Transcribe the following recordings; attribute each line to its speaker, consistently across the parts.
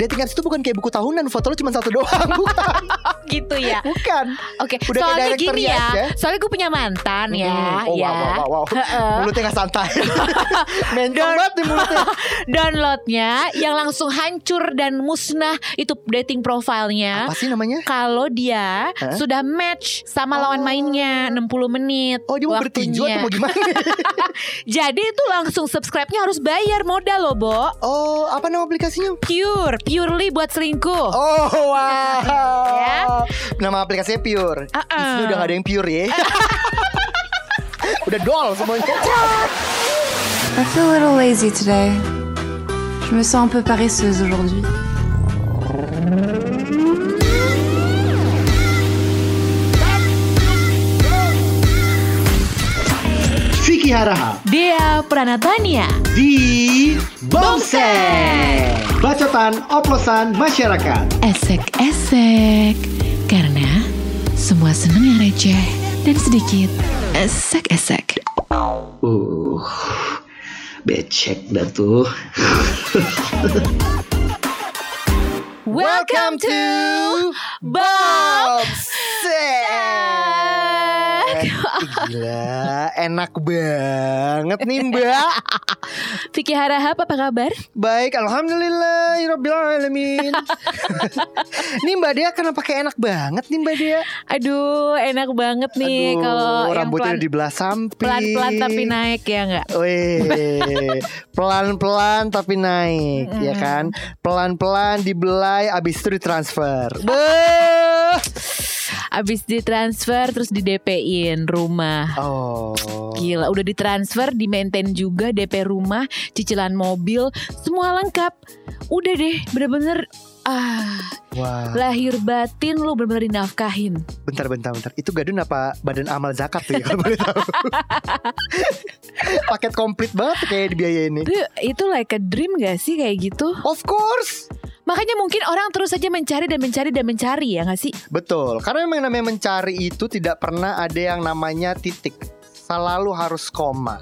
Speaker 1: dating apps itu bukan kayak buku tahunan foto lu cuma satu doang bukan
Speaker 2: gitu ya.
Speaker 1: bukan
Speaker 2: Oke,
Speaker 1: Udah kayak
Speaker 2: soalnya
Speaker 1: direkturnya
Speaker 2: gini ya.
Speaker 1: aja.
Speaker 2: Soalnya gue punya mantan ya,
Speaker 1: Hmm, oh,
Speaker 2: ya.
Speaker 1: wow, wow, wow, wow. mulutnya gak santai mencong banget nih mulutnya
Speaker 2: Downloadnya yang langsung hancur dan musnah itu dating profilnya.
Speaker 1: apa sih namanya
Speaker 2: Kalau dia
Speaker 1: Hah?
Speaker 2: sudah match sama
Speaker 1: Oh.
Speaker 2: lawan mainnya 60 menit.
Speaker 1: oh dia mau bertinju atau mau
Speaker 2: waktunya.
Speaker 1: gimana
Speaker 2: Jadi itu langsung subscribe-nya harus bayar modal loh, Bo.
Speaker 1: oh apa nama aplikasinya
Speaker 2: Pure, purely buat selingkuh.
Speaker 1: Oh wow
Speaker 2: Ya.
Speaker 1: Nama aplikasinya Pure
Speaker 2: Uh-uh.
Speaker 1: Di sini udah gak ada yang Pure ya Udah dol semuanya
Speaker 3: I feel a little lazy today. Je me sens un peu paresseuse aujourd'hui.
Speaker 4: Vicky Haraha
Speaker 2: Dia Pranatania.
Speaker 4: di Bongseng. Bacotan oplosan masyarakat.
Speaker 2: Esek-esek. Karena semua seneng yang receh dan sedikit esek-esek.
Speaker 4: Uh, becek dah tuh.
Speaker 2: Welcome to Bob.
Speaker 1: Bongsek Gila enak banget nih mbak
Speaker 2: Vicky Harahap apa kabar?
Speaker 1: Baik Alhamdulillah Rabbil Alamin Nih mbak Dea kenapa kayak enak banget nih mbak Dea
Speaker 2: Aduh enak banget nih
Speaker 1: Aduh,
Speaker 2: kalau yang
Speaker 1: rambutnya
Speaker 2: pelan,
Speaker 1: udah dibelah samping
Speaker 2: pelan-pelan tapi naik ya nggak?
Speaker 1: Wih, pelan-pelan tapi naik, ya kan? Pelan-pelan dibelai, abis itu ditransfer. Beuh.
Speaker 2: Abis ditransfer terus di DP-in rumah.
Speaker 1: Oh,
Speaker 2: Gila, udah ditransfer, di maintain juga DP rumah, cicilan mobil, semua lengkap. Udah deh, bener-bener ah
Speaker 1: wah.
Speaker 2: lahir batin lu bener-bener dinafkahin.
Speaker 1: Bentar, bentar, bentar. Itu gadun apa badan amal zakat tuh ya, kalau boleh tahu? Paket komplit banget kayak di biaya ini.
Speaker 2: Itu, itu like a dream gak sih kayak gitu?
Speaker 1: Of course,
Speaker 2: Makanya mungkin orang terus saja mencari dan mencari dan mencari ya gak sih?
Speaker 1: betul. Karena memang namanya mencari itu tidak pernah ada yang namanya titik. Selalu harus koma.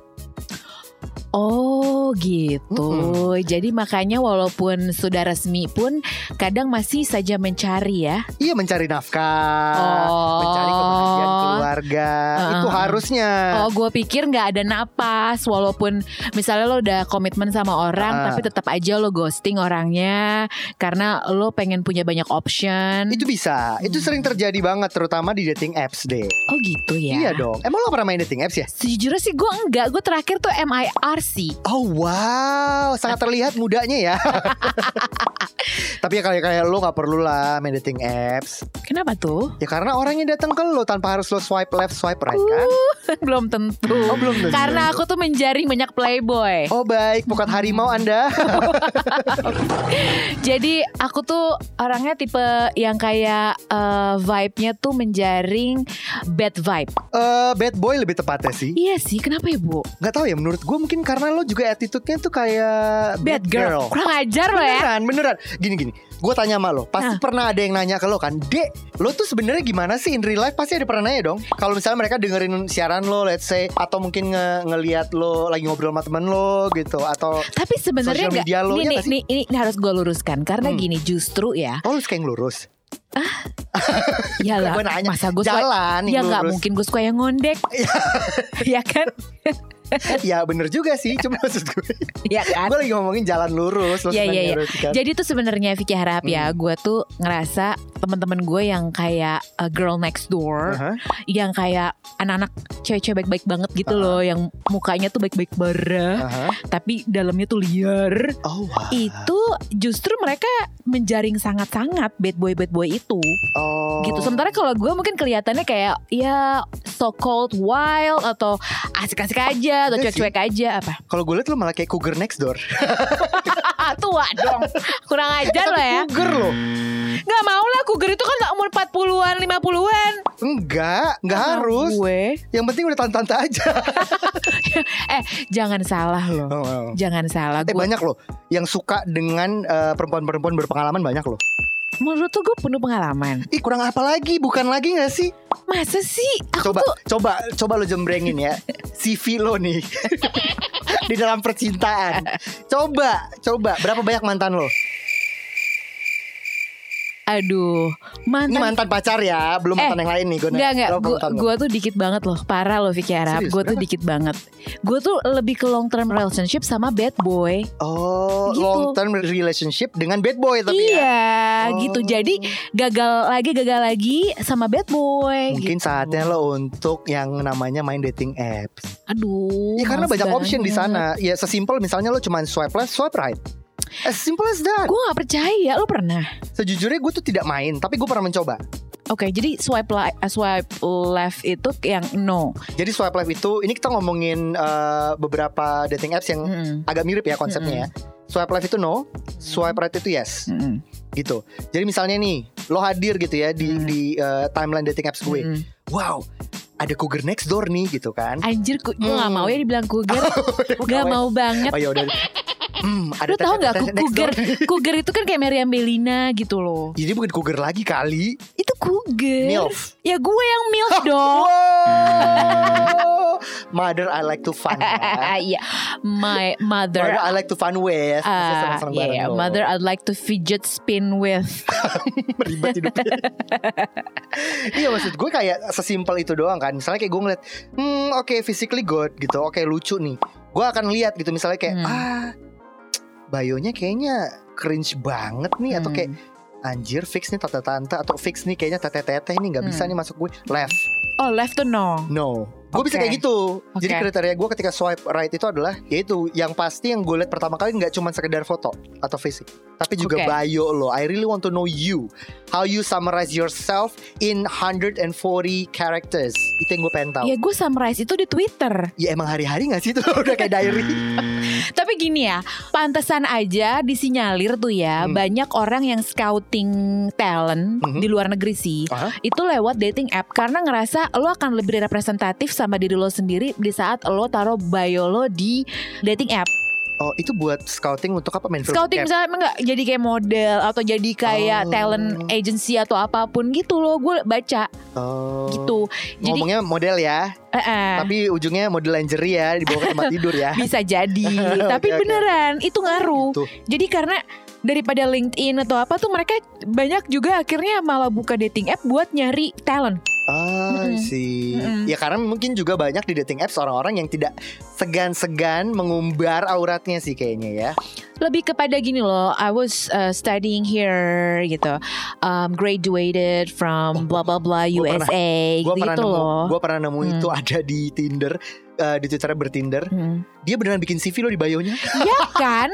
Speaker 2: Oh gitu. Jadi makanya walaupun sudah resmi pun kadang masih saja mencari ya.
Speaker 1: Iya mencari nafkah,
Speaker 2: Oh.
Speaker 1: Ah, mencari kebahagiaan keluarga,
Speaker 2: Heeh.
Speaker 1: itu harusnya.
Speaker 2: Oh, gue pikir nggak ada napas walaupun misalnya lo udah komitmen sama
Speaker 1: Ah.
Speaker 2: orang tapi tetap aja lo ghosting orangnya karena lo pengen punya banyak option.
Speaker 1: Itu bisa, itu sering terjadi banget terutama di dating apps deh.
Speaker 2: Oh gitu ya.
Speaker 1: Iya dong. Emang lo pernah main dating apps ya?
Speaker 2: Sejujurnya sih gue enggak, gue terakhir tuh MIRC.
Speaker 1: Oh wow, sangat terlihat mudanya ya. Tapi ya kayak kayak lo nggak perlu lah main dating apps.
Speaker 2: Kenapa tuh?
Speaker 1: Ya karena orangnya datang ke lo tanpa harus lo swipe left swipe right kan.
Speaker 2: Uh, belum tentu.
Speaker 1: Oh belum tentu.
Speaker 2: Karena aku tuh menjaring banyak playboy.
Speaker 1: Oh baik, bukan harimau anda.
Speaker 2: Jadi aku tuh orangnya tipe yang kayak eh, vibe-nya tuh menjaring bad vibe.
Speaker 1: Eh, bad boy lebih tepatnya sih.
Speaker 2: Iya sih, kenapa ya bu?
Speaker 1: Gak tahu ya menurut gue mungkin karena lo juga attitude-nya tuh kayak
Speaker 2: Bad girl. Kurang ajar lo ya. Ah.
Speaker 1: Beneran, beneran. Gini gini, gue tanya sama lo, pasti
Speaker 2: Hah.
Speaker 1: pernah ada yang nanya ke lo kan, dek, lo tuh sebenarnya gimana sih in real life? Pasti ada pernah nanya dong. Kalau misalnya mereka dengerin siaran lo, let's say, atau mungkin nge- ngelihat lo lagi ngobrol sama temen lo gitu, atau
Speaker 2: Tapi sebenarnya
Speaker 1: Social
Speaker 2: nggak.
Speaker 1: media lo,
Speaker 2: Nih,
Speaker 1: iya
Speaker 2: nih,
Speaker 1: nggak sih?
Speaker 2: nih, ini, ini harus gue luruskan karena
Speaker 1: Hmm.
Speaker 2: gini justru ya.
Speaker 1: oh lo suka yang lurus.
Speaker 2: Iyalah,
Speaker 1: Gue nanya,
Speaker 2: masa gue suka
Speaker 1: jalan
Speaker 2: Ya
Speaker 1: yang
Speaker 2: nggak
Speaker 1: lurus.
Speaker 2: mungkin gue suka yang ngondek. Iya kan?
Speaker 1: ya bener juga sih, cuma maksud gue,
Speaker 2: Iya kan?
Speaker 1: gue lagi ngomongin jalan lurus, lo
Speaker 2: Iya,
Speaker 1: suka
Speaker 2: iya,
Speaker 1: yang
Speaker 2: iya.
Speaker 1: lurus, kan? Hmm.
Speaker 2: Jadi tuh sebenarnya Vicky harap ya, gue tuh ngerasa teman-teman gue yang kayak uh, girl next door,
Speaker 1: Aha.
Speaker 2: yang kayak anak-anak cewek-cewek baik-baik banget gitu loh, yang mukanya tuh baik-baik bara,
Speaker 1: Aha.
Speaker 2: tapi dalamnya tuh liar.
Speaker 1: uh-huh. Oh, wah.
Speaker 2: Itu justru mereka menjaring sangat-sangat bad boy bad boy itu
Speaker 1: Oh.
Speaker 2: gitu. Sementara kalau gue mungkin kelihatannya kayak ya so called wild atau asik-asik aja atau
Speaker 1: Iya sih.
Speaker 2: cuek-cuek aja apa.
Speaker 1: Kalau gue liat lo malah kayak cougar next door.
Speaker 2: Ah tua dong. Kurang ajar lo ya.
Speaker 1: Cougar lo.
Speaker 2: Gak mau lah Cougar itu kan gak umur 40-an 50-an
Speaker 1: Enggak, enggak harus.
Speaker 2: gue.
Speaker 1: Yang penting udah tante-tante aja.
Speaker 2: Eh jangan salah loh
Speaker 1: Oh, oh.
Speaker 2: Jangan salah
Speaker 1: Eh
Speaker 2: gue
Speaker 1: banyak loh yang suka dengan eh, perempuan-perempuan berpengalaman banyak loh.
Speaker 2: Menurut tuh gue penuh pengalaman
Speaker 1: Ih kurang apa lagi? Bukan lagi gak sih?
Speaker 2: Masa sih Aku
Speaker 1: Coba,
Speaker 2: tuh
Speaker 1: coba, coba lo jembrengin ya CV lo nih di dalam percintaan. Coba, coba berapa banyak mantan lo?
Speaker 2: Aduh,
Speaker 1: Ini
Speaker 2: mantan
Speaker 1: mantan pacar ya, belum mantan yang lain nih gue.
Speaker 2: Enggak, enggak.
Speaker 1: Lo
Speaker 2: Gu-
Speaker 1: mantan lo.
Speaker 2: Gua tuh dikit banget loh. Parah loh Vicky Arab.
Speaker 1: Serius,
Speaker 2: Gua tuh
Speaker 1: kenapa?
Speaker 2: dikit banget. Gua tuh lebih ke long term relationship sama bad boy.
Speaker 1: Oh,
Speaker 2: Gitu.
Speaker 1: long term relationship dengan bad boy tapi ya.
Speaker 2: iya,
Speaker 1: Oh.
Speaker 2: gitu. Jadi gagal lagi, gagal lagi sama bad boy.
Speaker 1: Mungkin
Speaker 2: gitu.
Speaker 1: saatnya lo untuk yang namanya main dating apps.
Speaker 2: Aduh.
Speaker 1: Ya karena
Speaker 2: males
Speaker 1: banyak option di
Speaker 2: banget.
Speaker 1: sana. Ya sesimpel misalnya lo cuman swipe left, swipe right. As simple as that.
Speaker 2: Gua nggak percaya. Lo pernah?
Speaker 1: Sejujurnya gue tuh tidak main, tapi gue pernah mencoba.
Speaker 2: Oke, jadi swipe li- eh, swipe left itu yang no.
Speaker 1: Jadi swipe left itu, ini kita ngomongin eh, beberapa dating apps yang
Speaker 2: Mm-mm.
Speaker 1: agak mirip ya konsepnya ya.
Speaker 2: Hmm.
Speaker 1: Swipe left itu no, swipe right itu yes,
Speaker 2: Mm-mm.
Speaker 1: gitu. Jadi misalnya nih, lo hadir gitu ya
Speaker 2: Hmm.
Speaker 1: di di eh, timeline dating apps gue.
Speaker 2: Mm-mm.
Speaker 1: Wow, ada cougar next door nih gitu kan.
Speaker 2: Anjir, gue nggak
Speaker 1: Mm.
Speaker 2: mau ya dibilang cougar.
Speaker 1: Bukan,
Speaker 2: gak mau banget.
Speaker 1: Oh ya udah. Hmm, ada
Speaker 2: Lu tau
Speaker 1: tete-
Speaker 2: gak
Speaker 1: tete next
Speaker 2: cougar
Speaker 1: door.
Speaker 2: Cougar itu kan kayak Meriam Bellina gitu loh
Speaker 1: Jadi bukan cougar lagi kali.
Speaker 2: Itu cougar
Speaker 1: Milf. Oh,
Speaker 2: Ya gue yang milf dong
Speaker 1: Wow. Mother I like to fun. ya.
Speaker 2: Iya My mother
Speaker 1: Mother I like to fun with. Bisa
Speaker 2: Ah,
Speaker 1: seneng-seneng
Speaker 2: iya,
Speaker 1: bareng
Speaker 2: iya.
Speaker 1: lo.
Speaker 2: mother I'd like to fidget spin with
Speaker 1: Ribet hidupnya. iya maksud gue kayak sesimpel itu doang kan. Misalnya kayak gue ngeliat, hmm oke physically good gitu, oke lucu nih. Gue akan lihat gitu misalnya kayak
Speaker 2: Hmm.
Speaker 1: ah bayonya kayaknya cringe banget nih Iya,
Speaker 2: Hmm.
Speaker 1: atau kayak anjir fix nih tante-tante atau fix nih kayaknya teteh-teteh nih nggak bisa
Speaker 2: Hmm.
Speaker 1: nih masuk gue left
Speaker 2: Oh left to no
Speaker 1: no gue bisa
Speaker 2: Oke.
Speaker 1: kayak gitu jadi
Speaker 2: Oke.
Speaker 1: kriteria gue ketika swipe right itu adalah yaitu yang pasti yang gue lihat pertama kali nggak cuma sekedar foto atau fisik tapi juga
Speaker 2: Oke.
Speaker 1: bio lo I really want to know you how you summarize yourself in 140 characters itu yang gue pengen tahu
Speaker 2: Ya gue summarize itu di Twitter
Speaker 1: ya emang hari-hari nggak sih itu udah kayak diary
Speaker 2: Tapi gini ya Pantesan aja disinyalir tuh ya
Speaker 1: Hmm.
Speaker 2: Banyak orang yang scouting talent
Speaker 1: Mhm.
Speaker 2: Di luar negeri sih
Speaker 1: Aha.
Speaker 2: Itu lewat dating app Karena ngerasa lo akan lebih representatif sama diri lo sendiri Di saat lo taruh bio lo di dating app
Speaker 1: oh itu buat scouting untuk apa main film camp?
Speaker 2: Scouting misalnya enggak jadi kayak model Atau jadi kayak
Speaker 1: Oh.
Speaker 2: talent agency atau apapun gitu loh Gue baca
Speaker 1: oh.
Speaker 2: gitu Jadi
Speaker 1: ngomongnya model ya
Speaker 2: eh, eh,
Speaker 1: tapi ujungnya model lingerie ya dibawa ke tempat tidur ya
Speaker 2: bisa jadi Tapi
Speaker 1: Oke, oke.
Speaker 2: beneran itu ngaruh
Speaker 1: Gitu.
Speaker 2: Jadi karena daripada LinkedIn atau apa tuh mereka banyak juga akhirnya malah buka dating app buat nyari talent.
Speaker 1: Ah,
Speaker 2: Mm-mm.
Speaker 1: sih.
Speaker 2: Mm-mm.
Speaker 1: Ya karena mungkin juga banyak di dating apps orang-orang yang tidak segan-segan mengumbar auratnya sih kayaknya ya.
Speaker 2: Lebih kepada gini loh, I was uh, studying here gitu, um, graduated from blah blah blah
Speaker 1: Oh, gua pernah-
Speaker 2: USA
Speaker 1: Gua
Speaker 2: gitu,
Speaker 1: pernah nemu,
Speaker 2: loh.
Speaker 1: gua pernah nemu
Speaker 2: Hmm.
Speaker 1: itu ada di Tinder, eh, di Twitter bertinder.
Speaker 2: Hmm.
Speaker 1: Dia beneran bikin CV lo di bio-nya.
Speaker 2: Iya kan,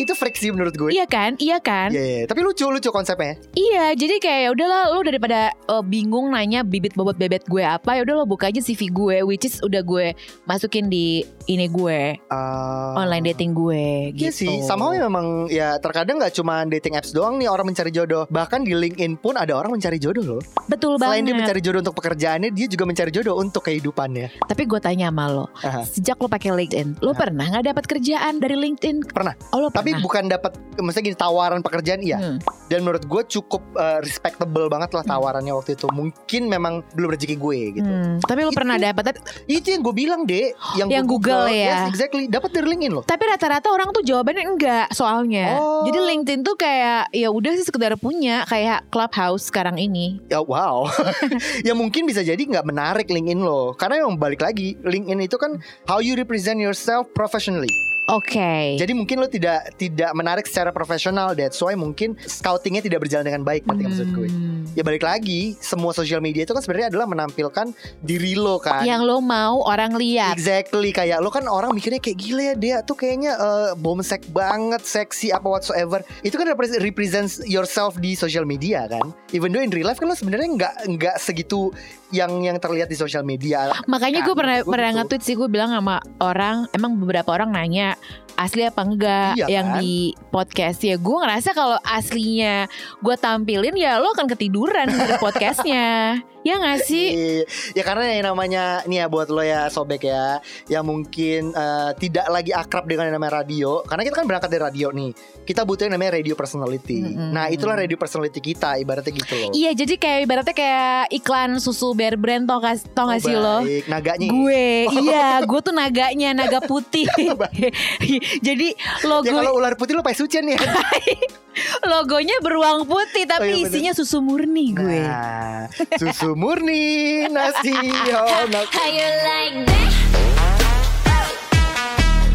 Speaker 1: itu freak sih menurut gue.
Speaker 2: iya kan, iya kan,
Speaker 1: Iya, iya. tapi lucu lucu konsepnya.
Speaker 2: iya. Jadi kayak udahlah, lo daripada uh, bingung nanya bibit bobot bebet gue apa, ya udah lo buka aja CV gue, which is udah gue masukin di ini gue,
Speaker 1: Ah.
Speaker 2: online dating gue.
Speaker 1: Iya
Speaker 2: gitu.
Speaker 1: sih, somehow ya memang ya terkadang nggak cuma dating apps doang nih orang mencari jodoh. Bahkan di LinkedIn pun ada orang mencari jodoh loh.
Speaker 2: Betul
Speaker 1: Selain dia
Speaker 2: banget.
Speaker 1: mencari jodoh untuk pekerjaannya, dia juga mencari jodoh untuk kehidupannya.
Speaker 2: Tapi gue tanya sama lo,
Speaker 1: Aha.
Speaker 2: sejak lo pakai LinkedIn, lo
Speaker 1: Aha.
Speaker 2: pernah nggak dapat kerjaan dari LinkedIn?
Speaker 1: Pernah.
Speaker 2: Oh lo
Speaker 1: Tapi
Speaker 2: pernah.
Speaker 1: bukan dapat maksudnya gini tawaran pekerjaan iya.
Speaker 2: Hmm.
Speaker 1: Dan menurut gue cukup eh, respectable banget lah tawarannya waktu itu. Mungkin memang belum rezeki gue gitu.
Speaker 2: Hmm, Tapi lo
Speaker 1: Itu-
Speaker 2: pernah dapat.
Speaker 1: Itu yang gue bilang deh, yang,
Speaker 2: Yang
Speaker 1: gue
Speaker 2: Google ya.
Speaker 1: Yes, exactly. Dapat dari LinkedIn loh.
Speaker 2: Tapi rata-rata orang tuh jawabannya enggak soalnya.
Speaker 1: Oh.
Speaker 2: Jadi LinkedIn tuh kayak ya udah sih sekedar punya kayak Clubhouse sekarang ini.
Speaker 1: Ya wow. ya mungkin bisa jadi nggak menarik LinkedIn lo. Karena yang balik lagi, LinkedIn itu kan how you represent yourself professionally.
Speaker 2: Oke. Iya.
Speaker 1: Jadi mungkin lo tidak tidak menarik secara profesional. That's why mungkin scoutingnya tidak berjalan dengan baik. Nanti maksud gue.
Speaker 2: Hmm.
Speaker 1: Ya balik lagi, semua sosial media itu kan sebenarnya adalah menampilkan diri lo kan.
Speaker 2: Yang lo mau orang lihat.
Speaker 1: Exactly kayak lo kan orang mikirnya kayak gila ya dia tuh kayaknya eh, bomsek banget, seksi apa whatsoever. Itu kan repres- represents yourself di social media kan. Even though in real life kan lo sebenarnya nggak nggak segitu yang yang terlihat di social media.
Speaker 2: Makanya gue
Speaker 1: Kan,
Speaker 2: pernah
Speaker 1: maksud gue
Speaker 2: pernah
Speaker 1: gitu.
Speaker 2: nge-tweet sih gue bilang sama orang, emang beberapa orang nanya asli apa enggak
Speaker 1: Iya
Speaker 2: yang
Speaker 1: kan?
Speaker 2: di podcast ya gue ngerasa kalau aslinya gue tampilin ya lo akan ketiduran di podcastnya ya nggak sih
Speaker 1: Iya, Ya karena yang namanya nih ya buat lo ya sobek ya yang mungkin eh, tidak lagi akrab dengan yang namanya radio karena kita kan berangkat dari radio nih kita butuh yang namanya radio personality
Speaker 2: Mm-mm.
Speaker 1: nah itulah radio personality kita ibaratnya gitu loh
Speaker 2: iya jadi kayak ibaratnya kayak iklan susu bear brand tau gak, tau gak sih lo
Speaker 1: Oh, Baik, naganya
Speaker 2: Gue, iya, gue tuh naganya, naga putih. Jadi
Speaker 1: Ya
Speaker 2: logo
Speaker 1: kalau ular putih lo pakai sucian ya
Speaker 2: Logonya beruang putih tapi
Speaker 1: Oh, iya, bener.
Speaker 2: isinya susu murni gue.
Speaker 1: Nah, susu murni Nah, nasional.
Speaker 5: How you like that?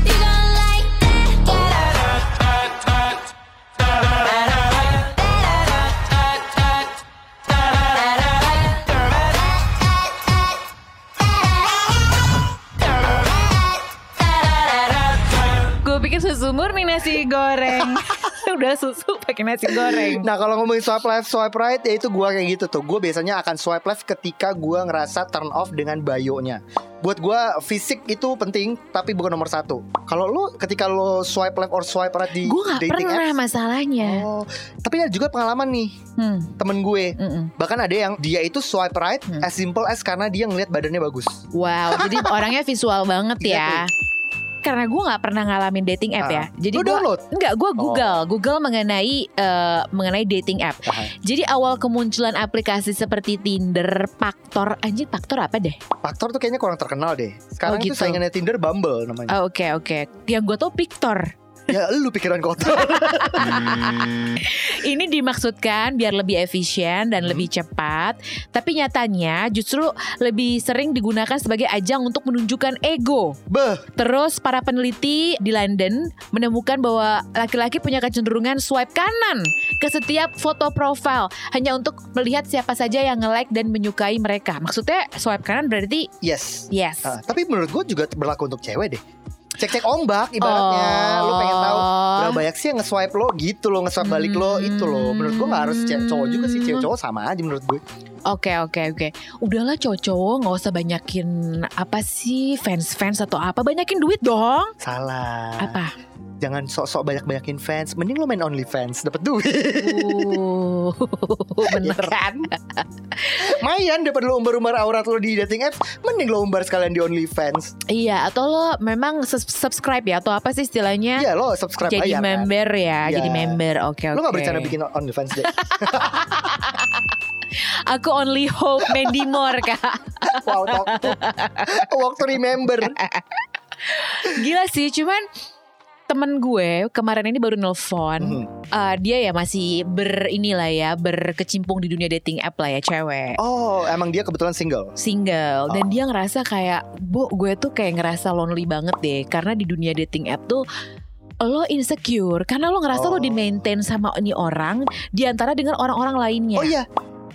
Speaker 5: You gon' like that?
Speaker 2: Gue pikir susu murni nasi goreng. Udah susu pakai nasi goreng.
Speaker 1: Nah kalau ngomongin swipe left, swipe right ya itu gue kayak gitu tuh Gue biasanya akan swipe left ketika gue ngerasa turn off dengan bayonya Buat gue fisik itu penting tapi bukan nomor satu Kalau lu ketika lu swipe left or swipe right di
Speaker 2: Gue nggak
Speaker 1: dating
Speaker 2: pernah
Speaker 1: apps
Speaker 2: masalahnya.
Speaker 1: Oh, tapi ada juga pengalaman nih
Speaker 2: Hmm.
Speaker 1: temen gue
Speaker 2: mm-mm.
Speaker 1: Bahkan ada yang dia itu swipe right
Speaker 2: Hmm.
Speaker 1: as simple as karena dia ngelihat badannya bagus
Speaker 2: Wow, jadi orangnya visual banget ya.
Speaker 1: Iya
Speaker 2: Karena gue nggak pernah ngalamin dating
Speaker 1: Ah.
Speaker 2: app ya. Jadi
Speaker 1: Lu
Speaker 2: gua-
Speaker 1: download? Oh.
Speaker 2: Enggak, gue Google, Google mengenai eh, mengenai dating app.
Speaker 1: Aha.
Speaker 2: Jadi awal kemunculan aplikasi seperti Tinder, Paktor, anjir Paktor apa deh?
Speaker 1: Faktor tuh kayaknya kurang terkenal deh Sekarang
Speaker 2: Oh,
Speaker 1: itu
Speaker 2: gitu.
Speaker 1: saingannya Tinder Bumble namanya
Speaker 2: Oh, Oke oke, yang gue tau Pictor.
Speaker 1: Ya lu pikiran kotor
Speaker 2: Ini dimaksudkan biar lebih efisien dan lebih cepat. Tapi nyatanya justru lebih sering digunakan sebagai ajang untuk menunjukkan ego.
Speaker 1: Beh
Speaker 2: Terus para peneliti di London menemukan bahwa laki-laki punya kecenderungan swipe kanan ke setiap foto profil hanya untuk melihat siapa saja yang nge-like dan menyukai mereka. Maksudnya swipe kanan berarti
Speaker 1: Yes
Speaker 2: yes.
Speaker 1: Ah, tapi menurut gue juga berlaku untuk cewek deh. Cek-cek ombak ibaratnya. Lo pengen tahu
Speaker 2: Oh.
Speaker 1: berapa banyak sih yang nge-swipe lo gitu lo nge-swipe balik lo
Speaker 2: Hmm.
Speaker 1: itu lo. Menurut gue gak harus cewek cowok juga sih. Cewek cowok sama aja menurut gue.
Speaker 2: Oke oke oke. Udahlah cowok-cowok nggak usah banyakin apa sih fans-fans atau apa banyakin duit dong.
Speaker 1: Salah.
Speaker 2: Apa?
Speaker 1: Jangan sok-sok banyak-banyakin fans. Mending lo main OnlyFans dapat duit.
Speaker 2: Uh, bener
Speaker 1: Gitu
Speaker 2: kan?
Speaker 1: Mayan dapat lo umbar-umbar aurat lo di dating apps. Mending lo umbar sekalian di OnlyFans.
Speaker 2: Iya atau lo memang sus- subscribe ya atau apa sih istilahnya?
Speaker 1: Iya lo subscribe bayar
Speaker 2: jadi
Speaker 1: kan.
Speaker 2: member ya,
Speaker 1: Iya.
Speaker 2: jadi member. Oke oke.
Speaker 1: Lo gak bercanda bikin OnlyFans deh.
Speaker 2: Aku only hope Mandy Moore kak.
Speaker 1: wow, talk to, walk to remember.
Speaker 2: Gila sih, cuman temen gue kemarin ini baru nelfon.
Speaker 1: Hmm.
Speaker 2: Eh, dia ya masih ber inilah ya berkecimpung di dunia dating app lah ya cewek.
Speaker 1: Oh, emang dia kebetulan single.
Speaker 2: single dan
Speaker 1: Oh.
Speaker 2: dia ngerasa kayak bu gue tuh kayak ngerasa lonely banget deh karena di dunia dating app tuh lo insecure karena lo ngerasa lo
Speaker 1: Oh.
Speaker 2: di maintain sama ini orang di antara dengan orang-orang lainnya
Speaker 1: Oh iya.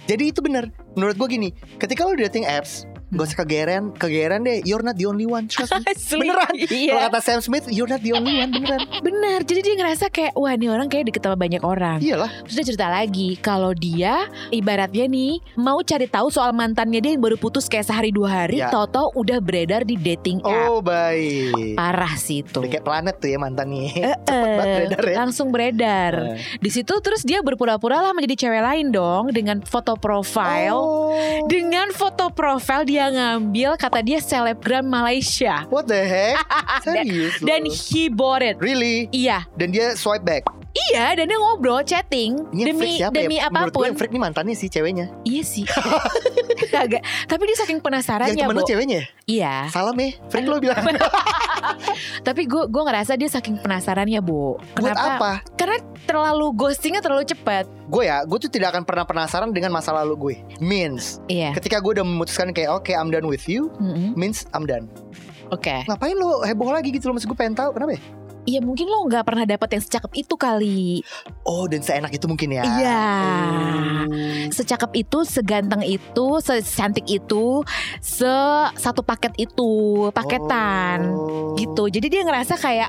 Speaker 1: Jadi itu benar. Menurut gue gini, ketika lo dating apps,
Speaker 2: Hmm.
Speaker 1: gak usah kegeran, kegeran deh. You're not the only one. Trust me.
Speaker 2: Asli.
Speaker 1: Beneran. Kalau
Speaker 2: iya.
Speaker 1: kata Sam Smith, you're not the only one. Beneran.
Speaker 2: bener jadi dia ngerasa kayak wah ini orang kayak deket sama banyak orang
Speaker 1: Iyalah.
Speaker 2: terus dia cerita lagi kalau dia ibaratnya nih mau cari tahu soal mantannya dia yang baru putus kayak sehari dua hari
Speaker 1: Ya.
Speaker 2: tau-tau udah beredar di dating app
Speaker 1: Oh baik.
Speaker 2: parah sih itu
Speaker 1: Udah kayak planet tuh ya mantan nih.
Speaker 2: Eh,
Speaker 1: banget beredar ya.
Speaker 2: langsung beredar
Speaker 1: Eh.
Speaker 2: Di situ terus dia berpura-pura lah menjadi cewek lain dong dengan foto profile.
Speaker 1: Oh,
Speaker 2: Dengan foto profil dia ngambil kata dia selebgram Malaysia
Speaker 1: What the heck? Serius
Speaker 2: dan
Speaker 1: lu?
Speaker 2: he bought it.
Speaker 1: Really?
Speaker 2: Iya,
Speaker 1: Dan dia swipe back.
Speaker 2: iya dan dia ngobrol chatting
Speaker 1: Ini yang
Speaker 2: demi
Speaker 1: freak siapa
Speaker 2: demi
Speaker 1: ya? Menurut gue
Speaker 2: apapun.
Speaker 1: yang freak nih mantannya sih ceweknya.
Speaker 2: Iya sih. Kagak. Tapi dia saking penasarannya,
Speaker 1: yang temen lu
Speaker 2: Bo.
Speaker 1: ceweknya ya?
Speaker 2: Iya.
Speaker 1: Salam ya. Freak lo bilang.
Speaker 2: Tapi gue gue ngerasa dia saking penasarannya, Bu.
Speaker 1: Buat
Speaker 2: Kenapa?
Speaker 1: apa?
Speaker 2: Karena terlalu ghostingnya terlalu cepat.
Speaker 1: Gue ya, gue tuh tidak akan pernah penasaran dengan masa lalu gue. Means.
Speaker 2: Iya.
Speaker 1: Ketika gue udah memutuskan kayak oke I'm done with you
Speaker 2: Mm-mm.
Speaker 1: Means I'm done
Speaker 2: Oke.
Speaker 1: Ngapain lo heboh lagi gitu loh Maksud gue pengen tahu kenapa ya
Speaker 2: Iya mungkin lo nggak pernah dapat yang secakep itu kali.
Speaker 1: Oh dan seenak itu mungkin ya
Speaker 2: Iya.
Speaker 1: Hmm.
Speaker 2: secakep itu, seganteng itu, secantik itu, se satu paket itu, paketan
Speaker 1: Oh.
Speaker 2: gitu. Jadi dia ngerasa kayak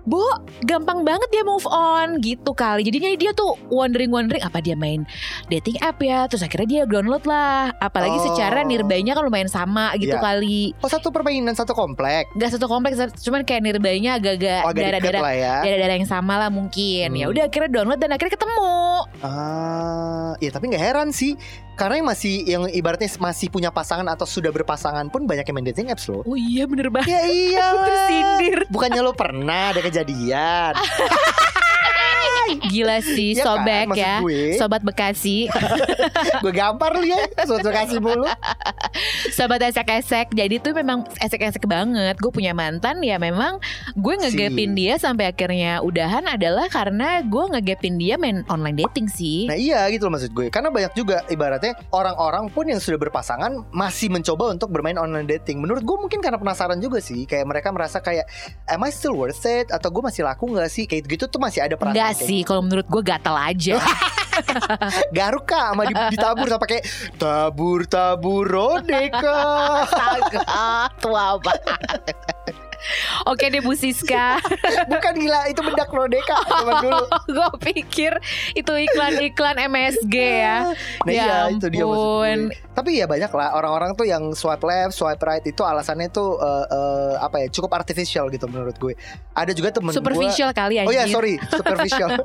Speaker 2: Bu, gampang banget dia move on gitu kali. Jadinya dia tuh wondering-wondering apa dia main dating app ya. Terus akhirnya dia download lah. Apalagi
Speaker 1: Oh.
Speaker 2: secara nirbanya kan lumayan sama gitu
Speaker 1: Iya.
Speaker 2: kali.
Speaker 1: Oh satu permainan satu komplek
Speaker 2: Gak satu kompleks, cuman kayak nirbanya agak-agak
Speaker 1: Oh agak deket
Speaker 2: daerah-daerah
Speaker 1: lah ya
Speaker 2: daerah-daerah yang sama lah mungkin.
Speaker 1: Hmm.
Speaker 2: Ya udah akhirnya download dan akhirnya ketemu.
Speaker 1: Ah, Ya tapi gak heran sih Karena yang masih Yang ibaratnya masih punya pasangan Atau sudah berpasangan pun Banyak yang main dating apps loh
Speaker 2: Oh iya bener banget.
Speaker 1: Ya iya
Speaker 2: Tersindir.
Speaker 1: Bukannya lo pernah ada kejadian
Speaker 2: Gila sih,
Speaker 1: Iya kan,
Speaker 2: sobek
Speaker 1: maksud
Speaker 2: ya.
Speaker 1: gue.
Speaker 2: Sobat Bekasi,
Speaker 1: Gue gampar lu ya Suatu kasih mulu
Speaker 2: sobat esek-esek. Jadi tuh memang esek-esek banget. Gue punya mantan ya memang gue ngegapin
Speaker 1: Si.
Speaker 2: dia sampai akhirnya udahan adalah karena gue ngegapin dia main online dating sih.
Speaker 1: Nah iya gitu loh maksud gue Karena banyak juga ibaratnya Orang-orang pun yang sudah berpasangan Masih mencoba untuk bermain online dating Menurut gue mungkin karena penasaran juga sih Kayak mereka merasa kayak Am I still worth it? Atau gue masih laku gak sih? Kayak gitu tuh masih ada perasaan
Speaker 2: Enggak
Speaker 1: kayak
Speaker 2: sih, kalau menurut gue gatel aja.
Speaker 1: Garuk kak sama di- ditabur sama kayak Tabur tabur rodeka
Speaker 2: Astaga, tua banget. Oke deh Bu Siska
Speaker 1: Bukan gila itu bedak rodeka Zaman dulu
Speaker 2: Gue pikir itu iklan-iklan MSG ya
Speaker 1: Nah
Speaker 2: Ya
Speaker 1: iya itu dia maksud gue.
Speaker 2: ampun.
Speaker 1: Tapi ya banyak lah orang-orang tuh yang swipe left, swipe right itu alasannya tuh eh, eh, apa ya cukup artificial gitu menurut gue. Ada juga temen gue.
Speaker 2: Superficial kali ya
Speaker 1: Oh ya sorry superficial.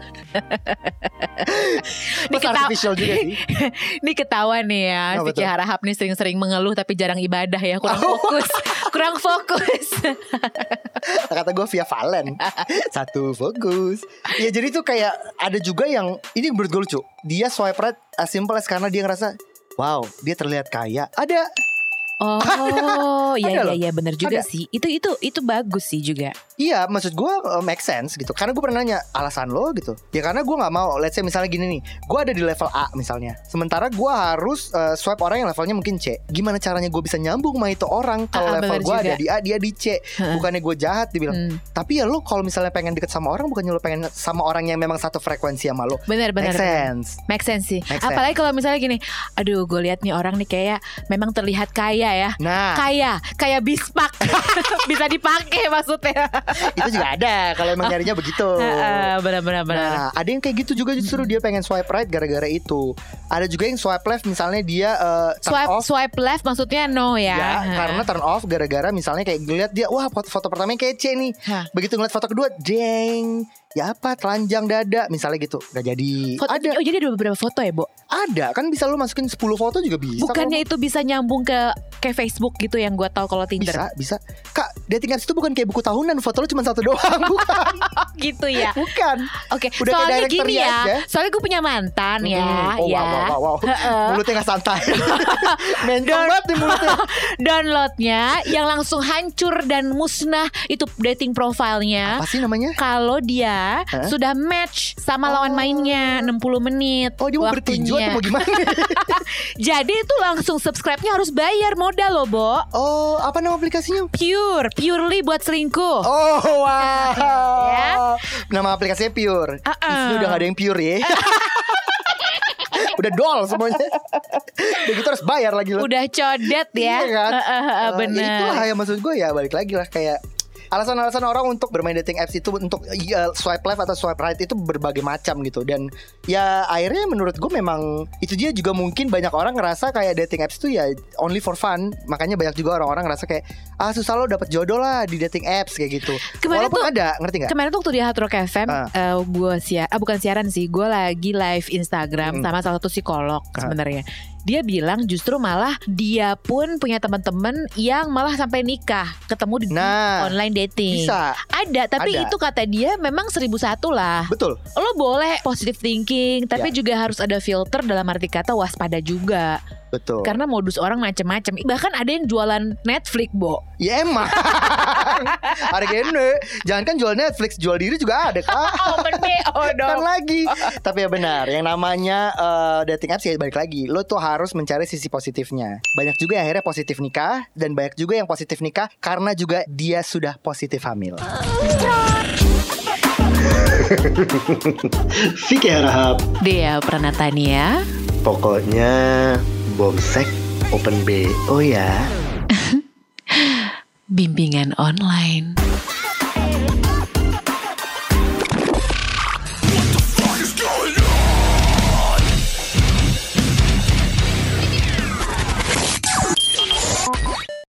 Speaker 1: Mas
Speaker 2: kita-
Speaker 1: artificial juga sih.
Speaker 2: Ini ketahuan nih ya
Speaker 1: Apa
Speaker 2: Vicky
Speaker 1: tuh?
Speaker 2: Harahap nih sering-sering mengeluh Tapi jarang ibadah ya Kurang
Speaker 1: Oh.
Speaker 2: fokus Kurang fokus
Speaker 1: Kata gue via Valen. Satu fokus. Ya jadi tuh kayak ada juga yang ini menurut gue lucu. Dia swipe right as simple as karena dia ngerasa Wow, dia terlihat kaya. Ada
Speaker 2: Oh
Speaker 1: Ada
Speaker 2: Iya
Speaker 1: loh.
Speaker 2: iya iya bener juga
Speaker 1: Ada.
Speaker 2: sih Itu itu itu bagus sih juga
Speaker 1: Iya, maksud gue uh, make sense gitu. Karena gue pernah nanya alasan lo gitu. Ya karena gue nggak mau. Let's say misalnya gini nih, gue ada di level A misalnya. Sementara gue harus uh, swipe orang yang levelnya mungkin C. Gimana caranya gue bisa nyambung sama itu orang kalau
Speaker 2: Ah, ah,
Speaker 1: level gue
Speaker 2: bener juga.
Speaker 1: ada di A, dia di C.
Speaker 2: Heeh.
Speaker 1: Bukannya gue jahat dibilang.
Speaker 2: Hmm.
Speaker 1: Tapi ya lo kalau misalnya pengen deket sama orang, bukannya lo pengen sama orang yang memang satu frekuensi sama lo.
Speaker 2: Bener
Speaker 1: make
Speaker 2: bener bener.
Speaker 1: sense.
Speaker 2: Make sense sih.
Speaker 1: Make sense.
Speaker 2: Apalagi kalau misalnya gini, aduh gue lihat nih orang nih kayak memang terlihat kaya ya.
Speaker 1: Nah,
Speaker 2: Kaya, kayak bispak. Bisa dipakai maksudnya.
Speaker 1: itu juga ada kalau emang nyarinya begitu.
Speaker 2: Heeh, Benar-benar benar.
Speaker 1: Nah, ada yang kayak gitu juga justru dia pengen swipe right gara-gara itu. Ada juga yang swipe left misalnya dia uh, turn
Speaker 2: Swipe
Speaker 1: off
Speaker 2: swipe left maksudnya no ya.
Speaker 1: Ya,
Speaker 2: Heeh.
Speaker 1: karena turn off gara-gara misalnya kayak ngeliat dia, wah foto, foto pertamanya kece nih.
Speaker 2: Hah.
Speaker 1: Begitu ngeliat foto kedua, jeng. Ya apa, telanjang dada misalnya gitu. Gak jadi.
Speaker 2: Foto-
Speaker 1: ada,
Speaker 2: Oh jadi ada beberapa foto ya, Bo?
Speaker 1: ada. Kan bisa lu masukin 10 foto juga bisa.
Speaker 2: Bukannya itu bisa nyambung ke kayak Facebook gitu yang gue tahu
Speaker 1: kalau-
Speaker 2: kalau Tinder.
Speaker 1: bisa, bisa. Kak, dating apps itu bukan kayak buku tahunan, foto lu cuma satu doang. Bukan,
Speaker 2: gitu ya.
Speaker 1: bukan.
Speaker 2: Oke,
Speaker 1: Udah kayak
Speaker 2: soalnya
Speaker 1: directory
Speaker 2: gini ya.
Speaker 1: aja.
Speaker 2: Soalnya gue punya mantan ya,
Speaker 1: Hmm, Oh,
Speaker 2: ya.
Speaker 1: wow, wow, wow, wow. Mulutnya gak santai. Mencong banget nih mulutnya.
Speaker 2: Downloadnya yang langsung hancur dan musnah itu dating profilnya.
Speaker 1: Apa sih namanya?
Speaker 2: Kalau dia
Speaker 1: Hah?
Speaker 2: sudah match sama lawan mainnya 60 menit
Speaker 1: Oh, dia mau bertinju atau mau gimana?
Speaker 2: Jadi itu langsung subscribe-nya harus bayar modal loh, Bo.
Speaker 1: oh, apa nama aplikasinya?
Speaker 2: Pure, purely buat selingkuh.
Speaker 1: Oh wow.
Speaker 2: Ya.
Speaker 1: Nama aplikasinya Pure.
Speaker 2: Uh-uh.
Speaker 1: Di sini udah gak ada yang Pure ya. udah dol semuanya. udah gitu harus bayar lagi loh.
Speaker 2: Udah codet ya.
Speaker 1: Iya kan?
Speaker 2: Heeh, heeh,
Speaker 1: Eh, Ya
Speaker 2: Bener.
Speaker 1: itulah yang maksud gue ya balik lagi lah kayak alasan-alasan orang untuk bermain dating apps itu untuk ya, swipe left atau swipe right itu berbagai macam gitu dan ya akhirnya menurut gue memang itu dia juga mungkin banyak orang ngerasa kayak dating apps itu ya only for fun makanya banyak juga orang-orang ngerasa kayak ah susah lo dapet jodoh lah di dating apps kayak gitu
Speaker 2: Kemarin
Speaker 1: walaupun
Speaker 2: tuh-
Speaker 1: ada ngerti nggak
Speaker 2: Kemarin tuh waktu di Hard Rock FM,
Speaker 1: Ah.
Speaker 2: eh, gue siar, ah, bukan siaran sih, gue lagi live
Speaker 1: Mm.
Speaker 2: Instagram sama salah satu psikolog
Speaker 1: Ah.
Speaker 2: sebenarnya. Dia bilang justru malah dia pun punya teman-teman yang malah sampai nikah, ketemu di di
Speaker 1: Nah,
Speaker 2: online dating.
Speaker 1: bisa
Speaker 2: Ada, tapi
Speaker 1: Ada.
Speaker 2: itu kata dia memang seribu satu lah.
Speaker 1: betul
Speaker 2: Lo boleh positive thinking, tapi
Speaker 1: Ya.
Speaker 2: juga harus ada filter dalam arti kata waspada juga.
Speaker 1: betul
Speaker 2: Karena modus orang macem-macem. Bahkan ada yang jualan Netflix, Bo.
Speaker 1: ya emang hari ini jangan kan jual Netflix jual diri juga ada kak
Speaker 2: Open BO
Speaker 1: Kan lagi. Tapi ya benar, yang namanya eh, dating apps ya balik lagi. Lo tuh harus mencari sisi positifnya. Banyak juga yang akhirnya positif nikah dan banyak juga yang positif nikah karena juga dia sudah positif hamil.
Speaker 4: Vicky Harahap.
Speaker 2: Dea Pranatania.
Speaker 4: Pokoknya bomsek open B. Oh ya.
Speaker 2: bimbingan online.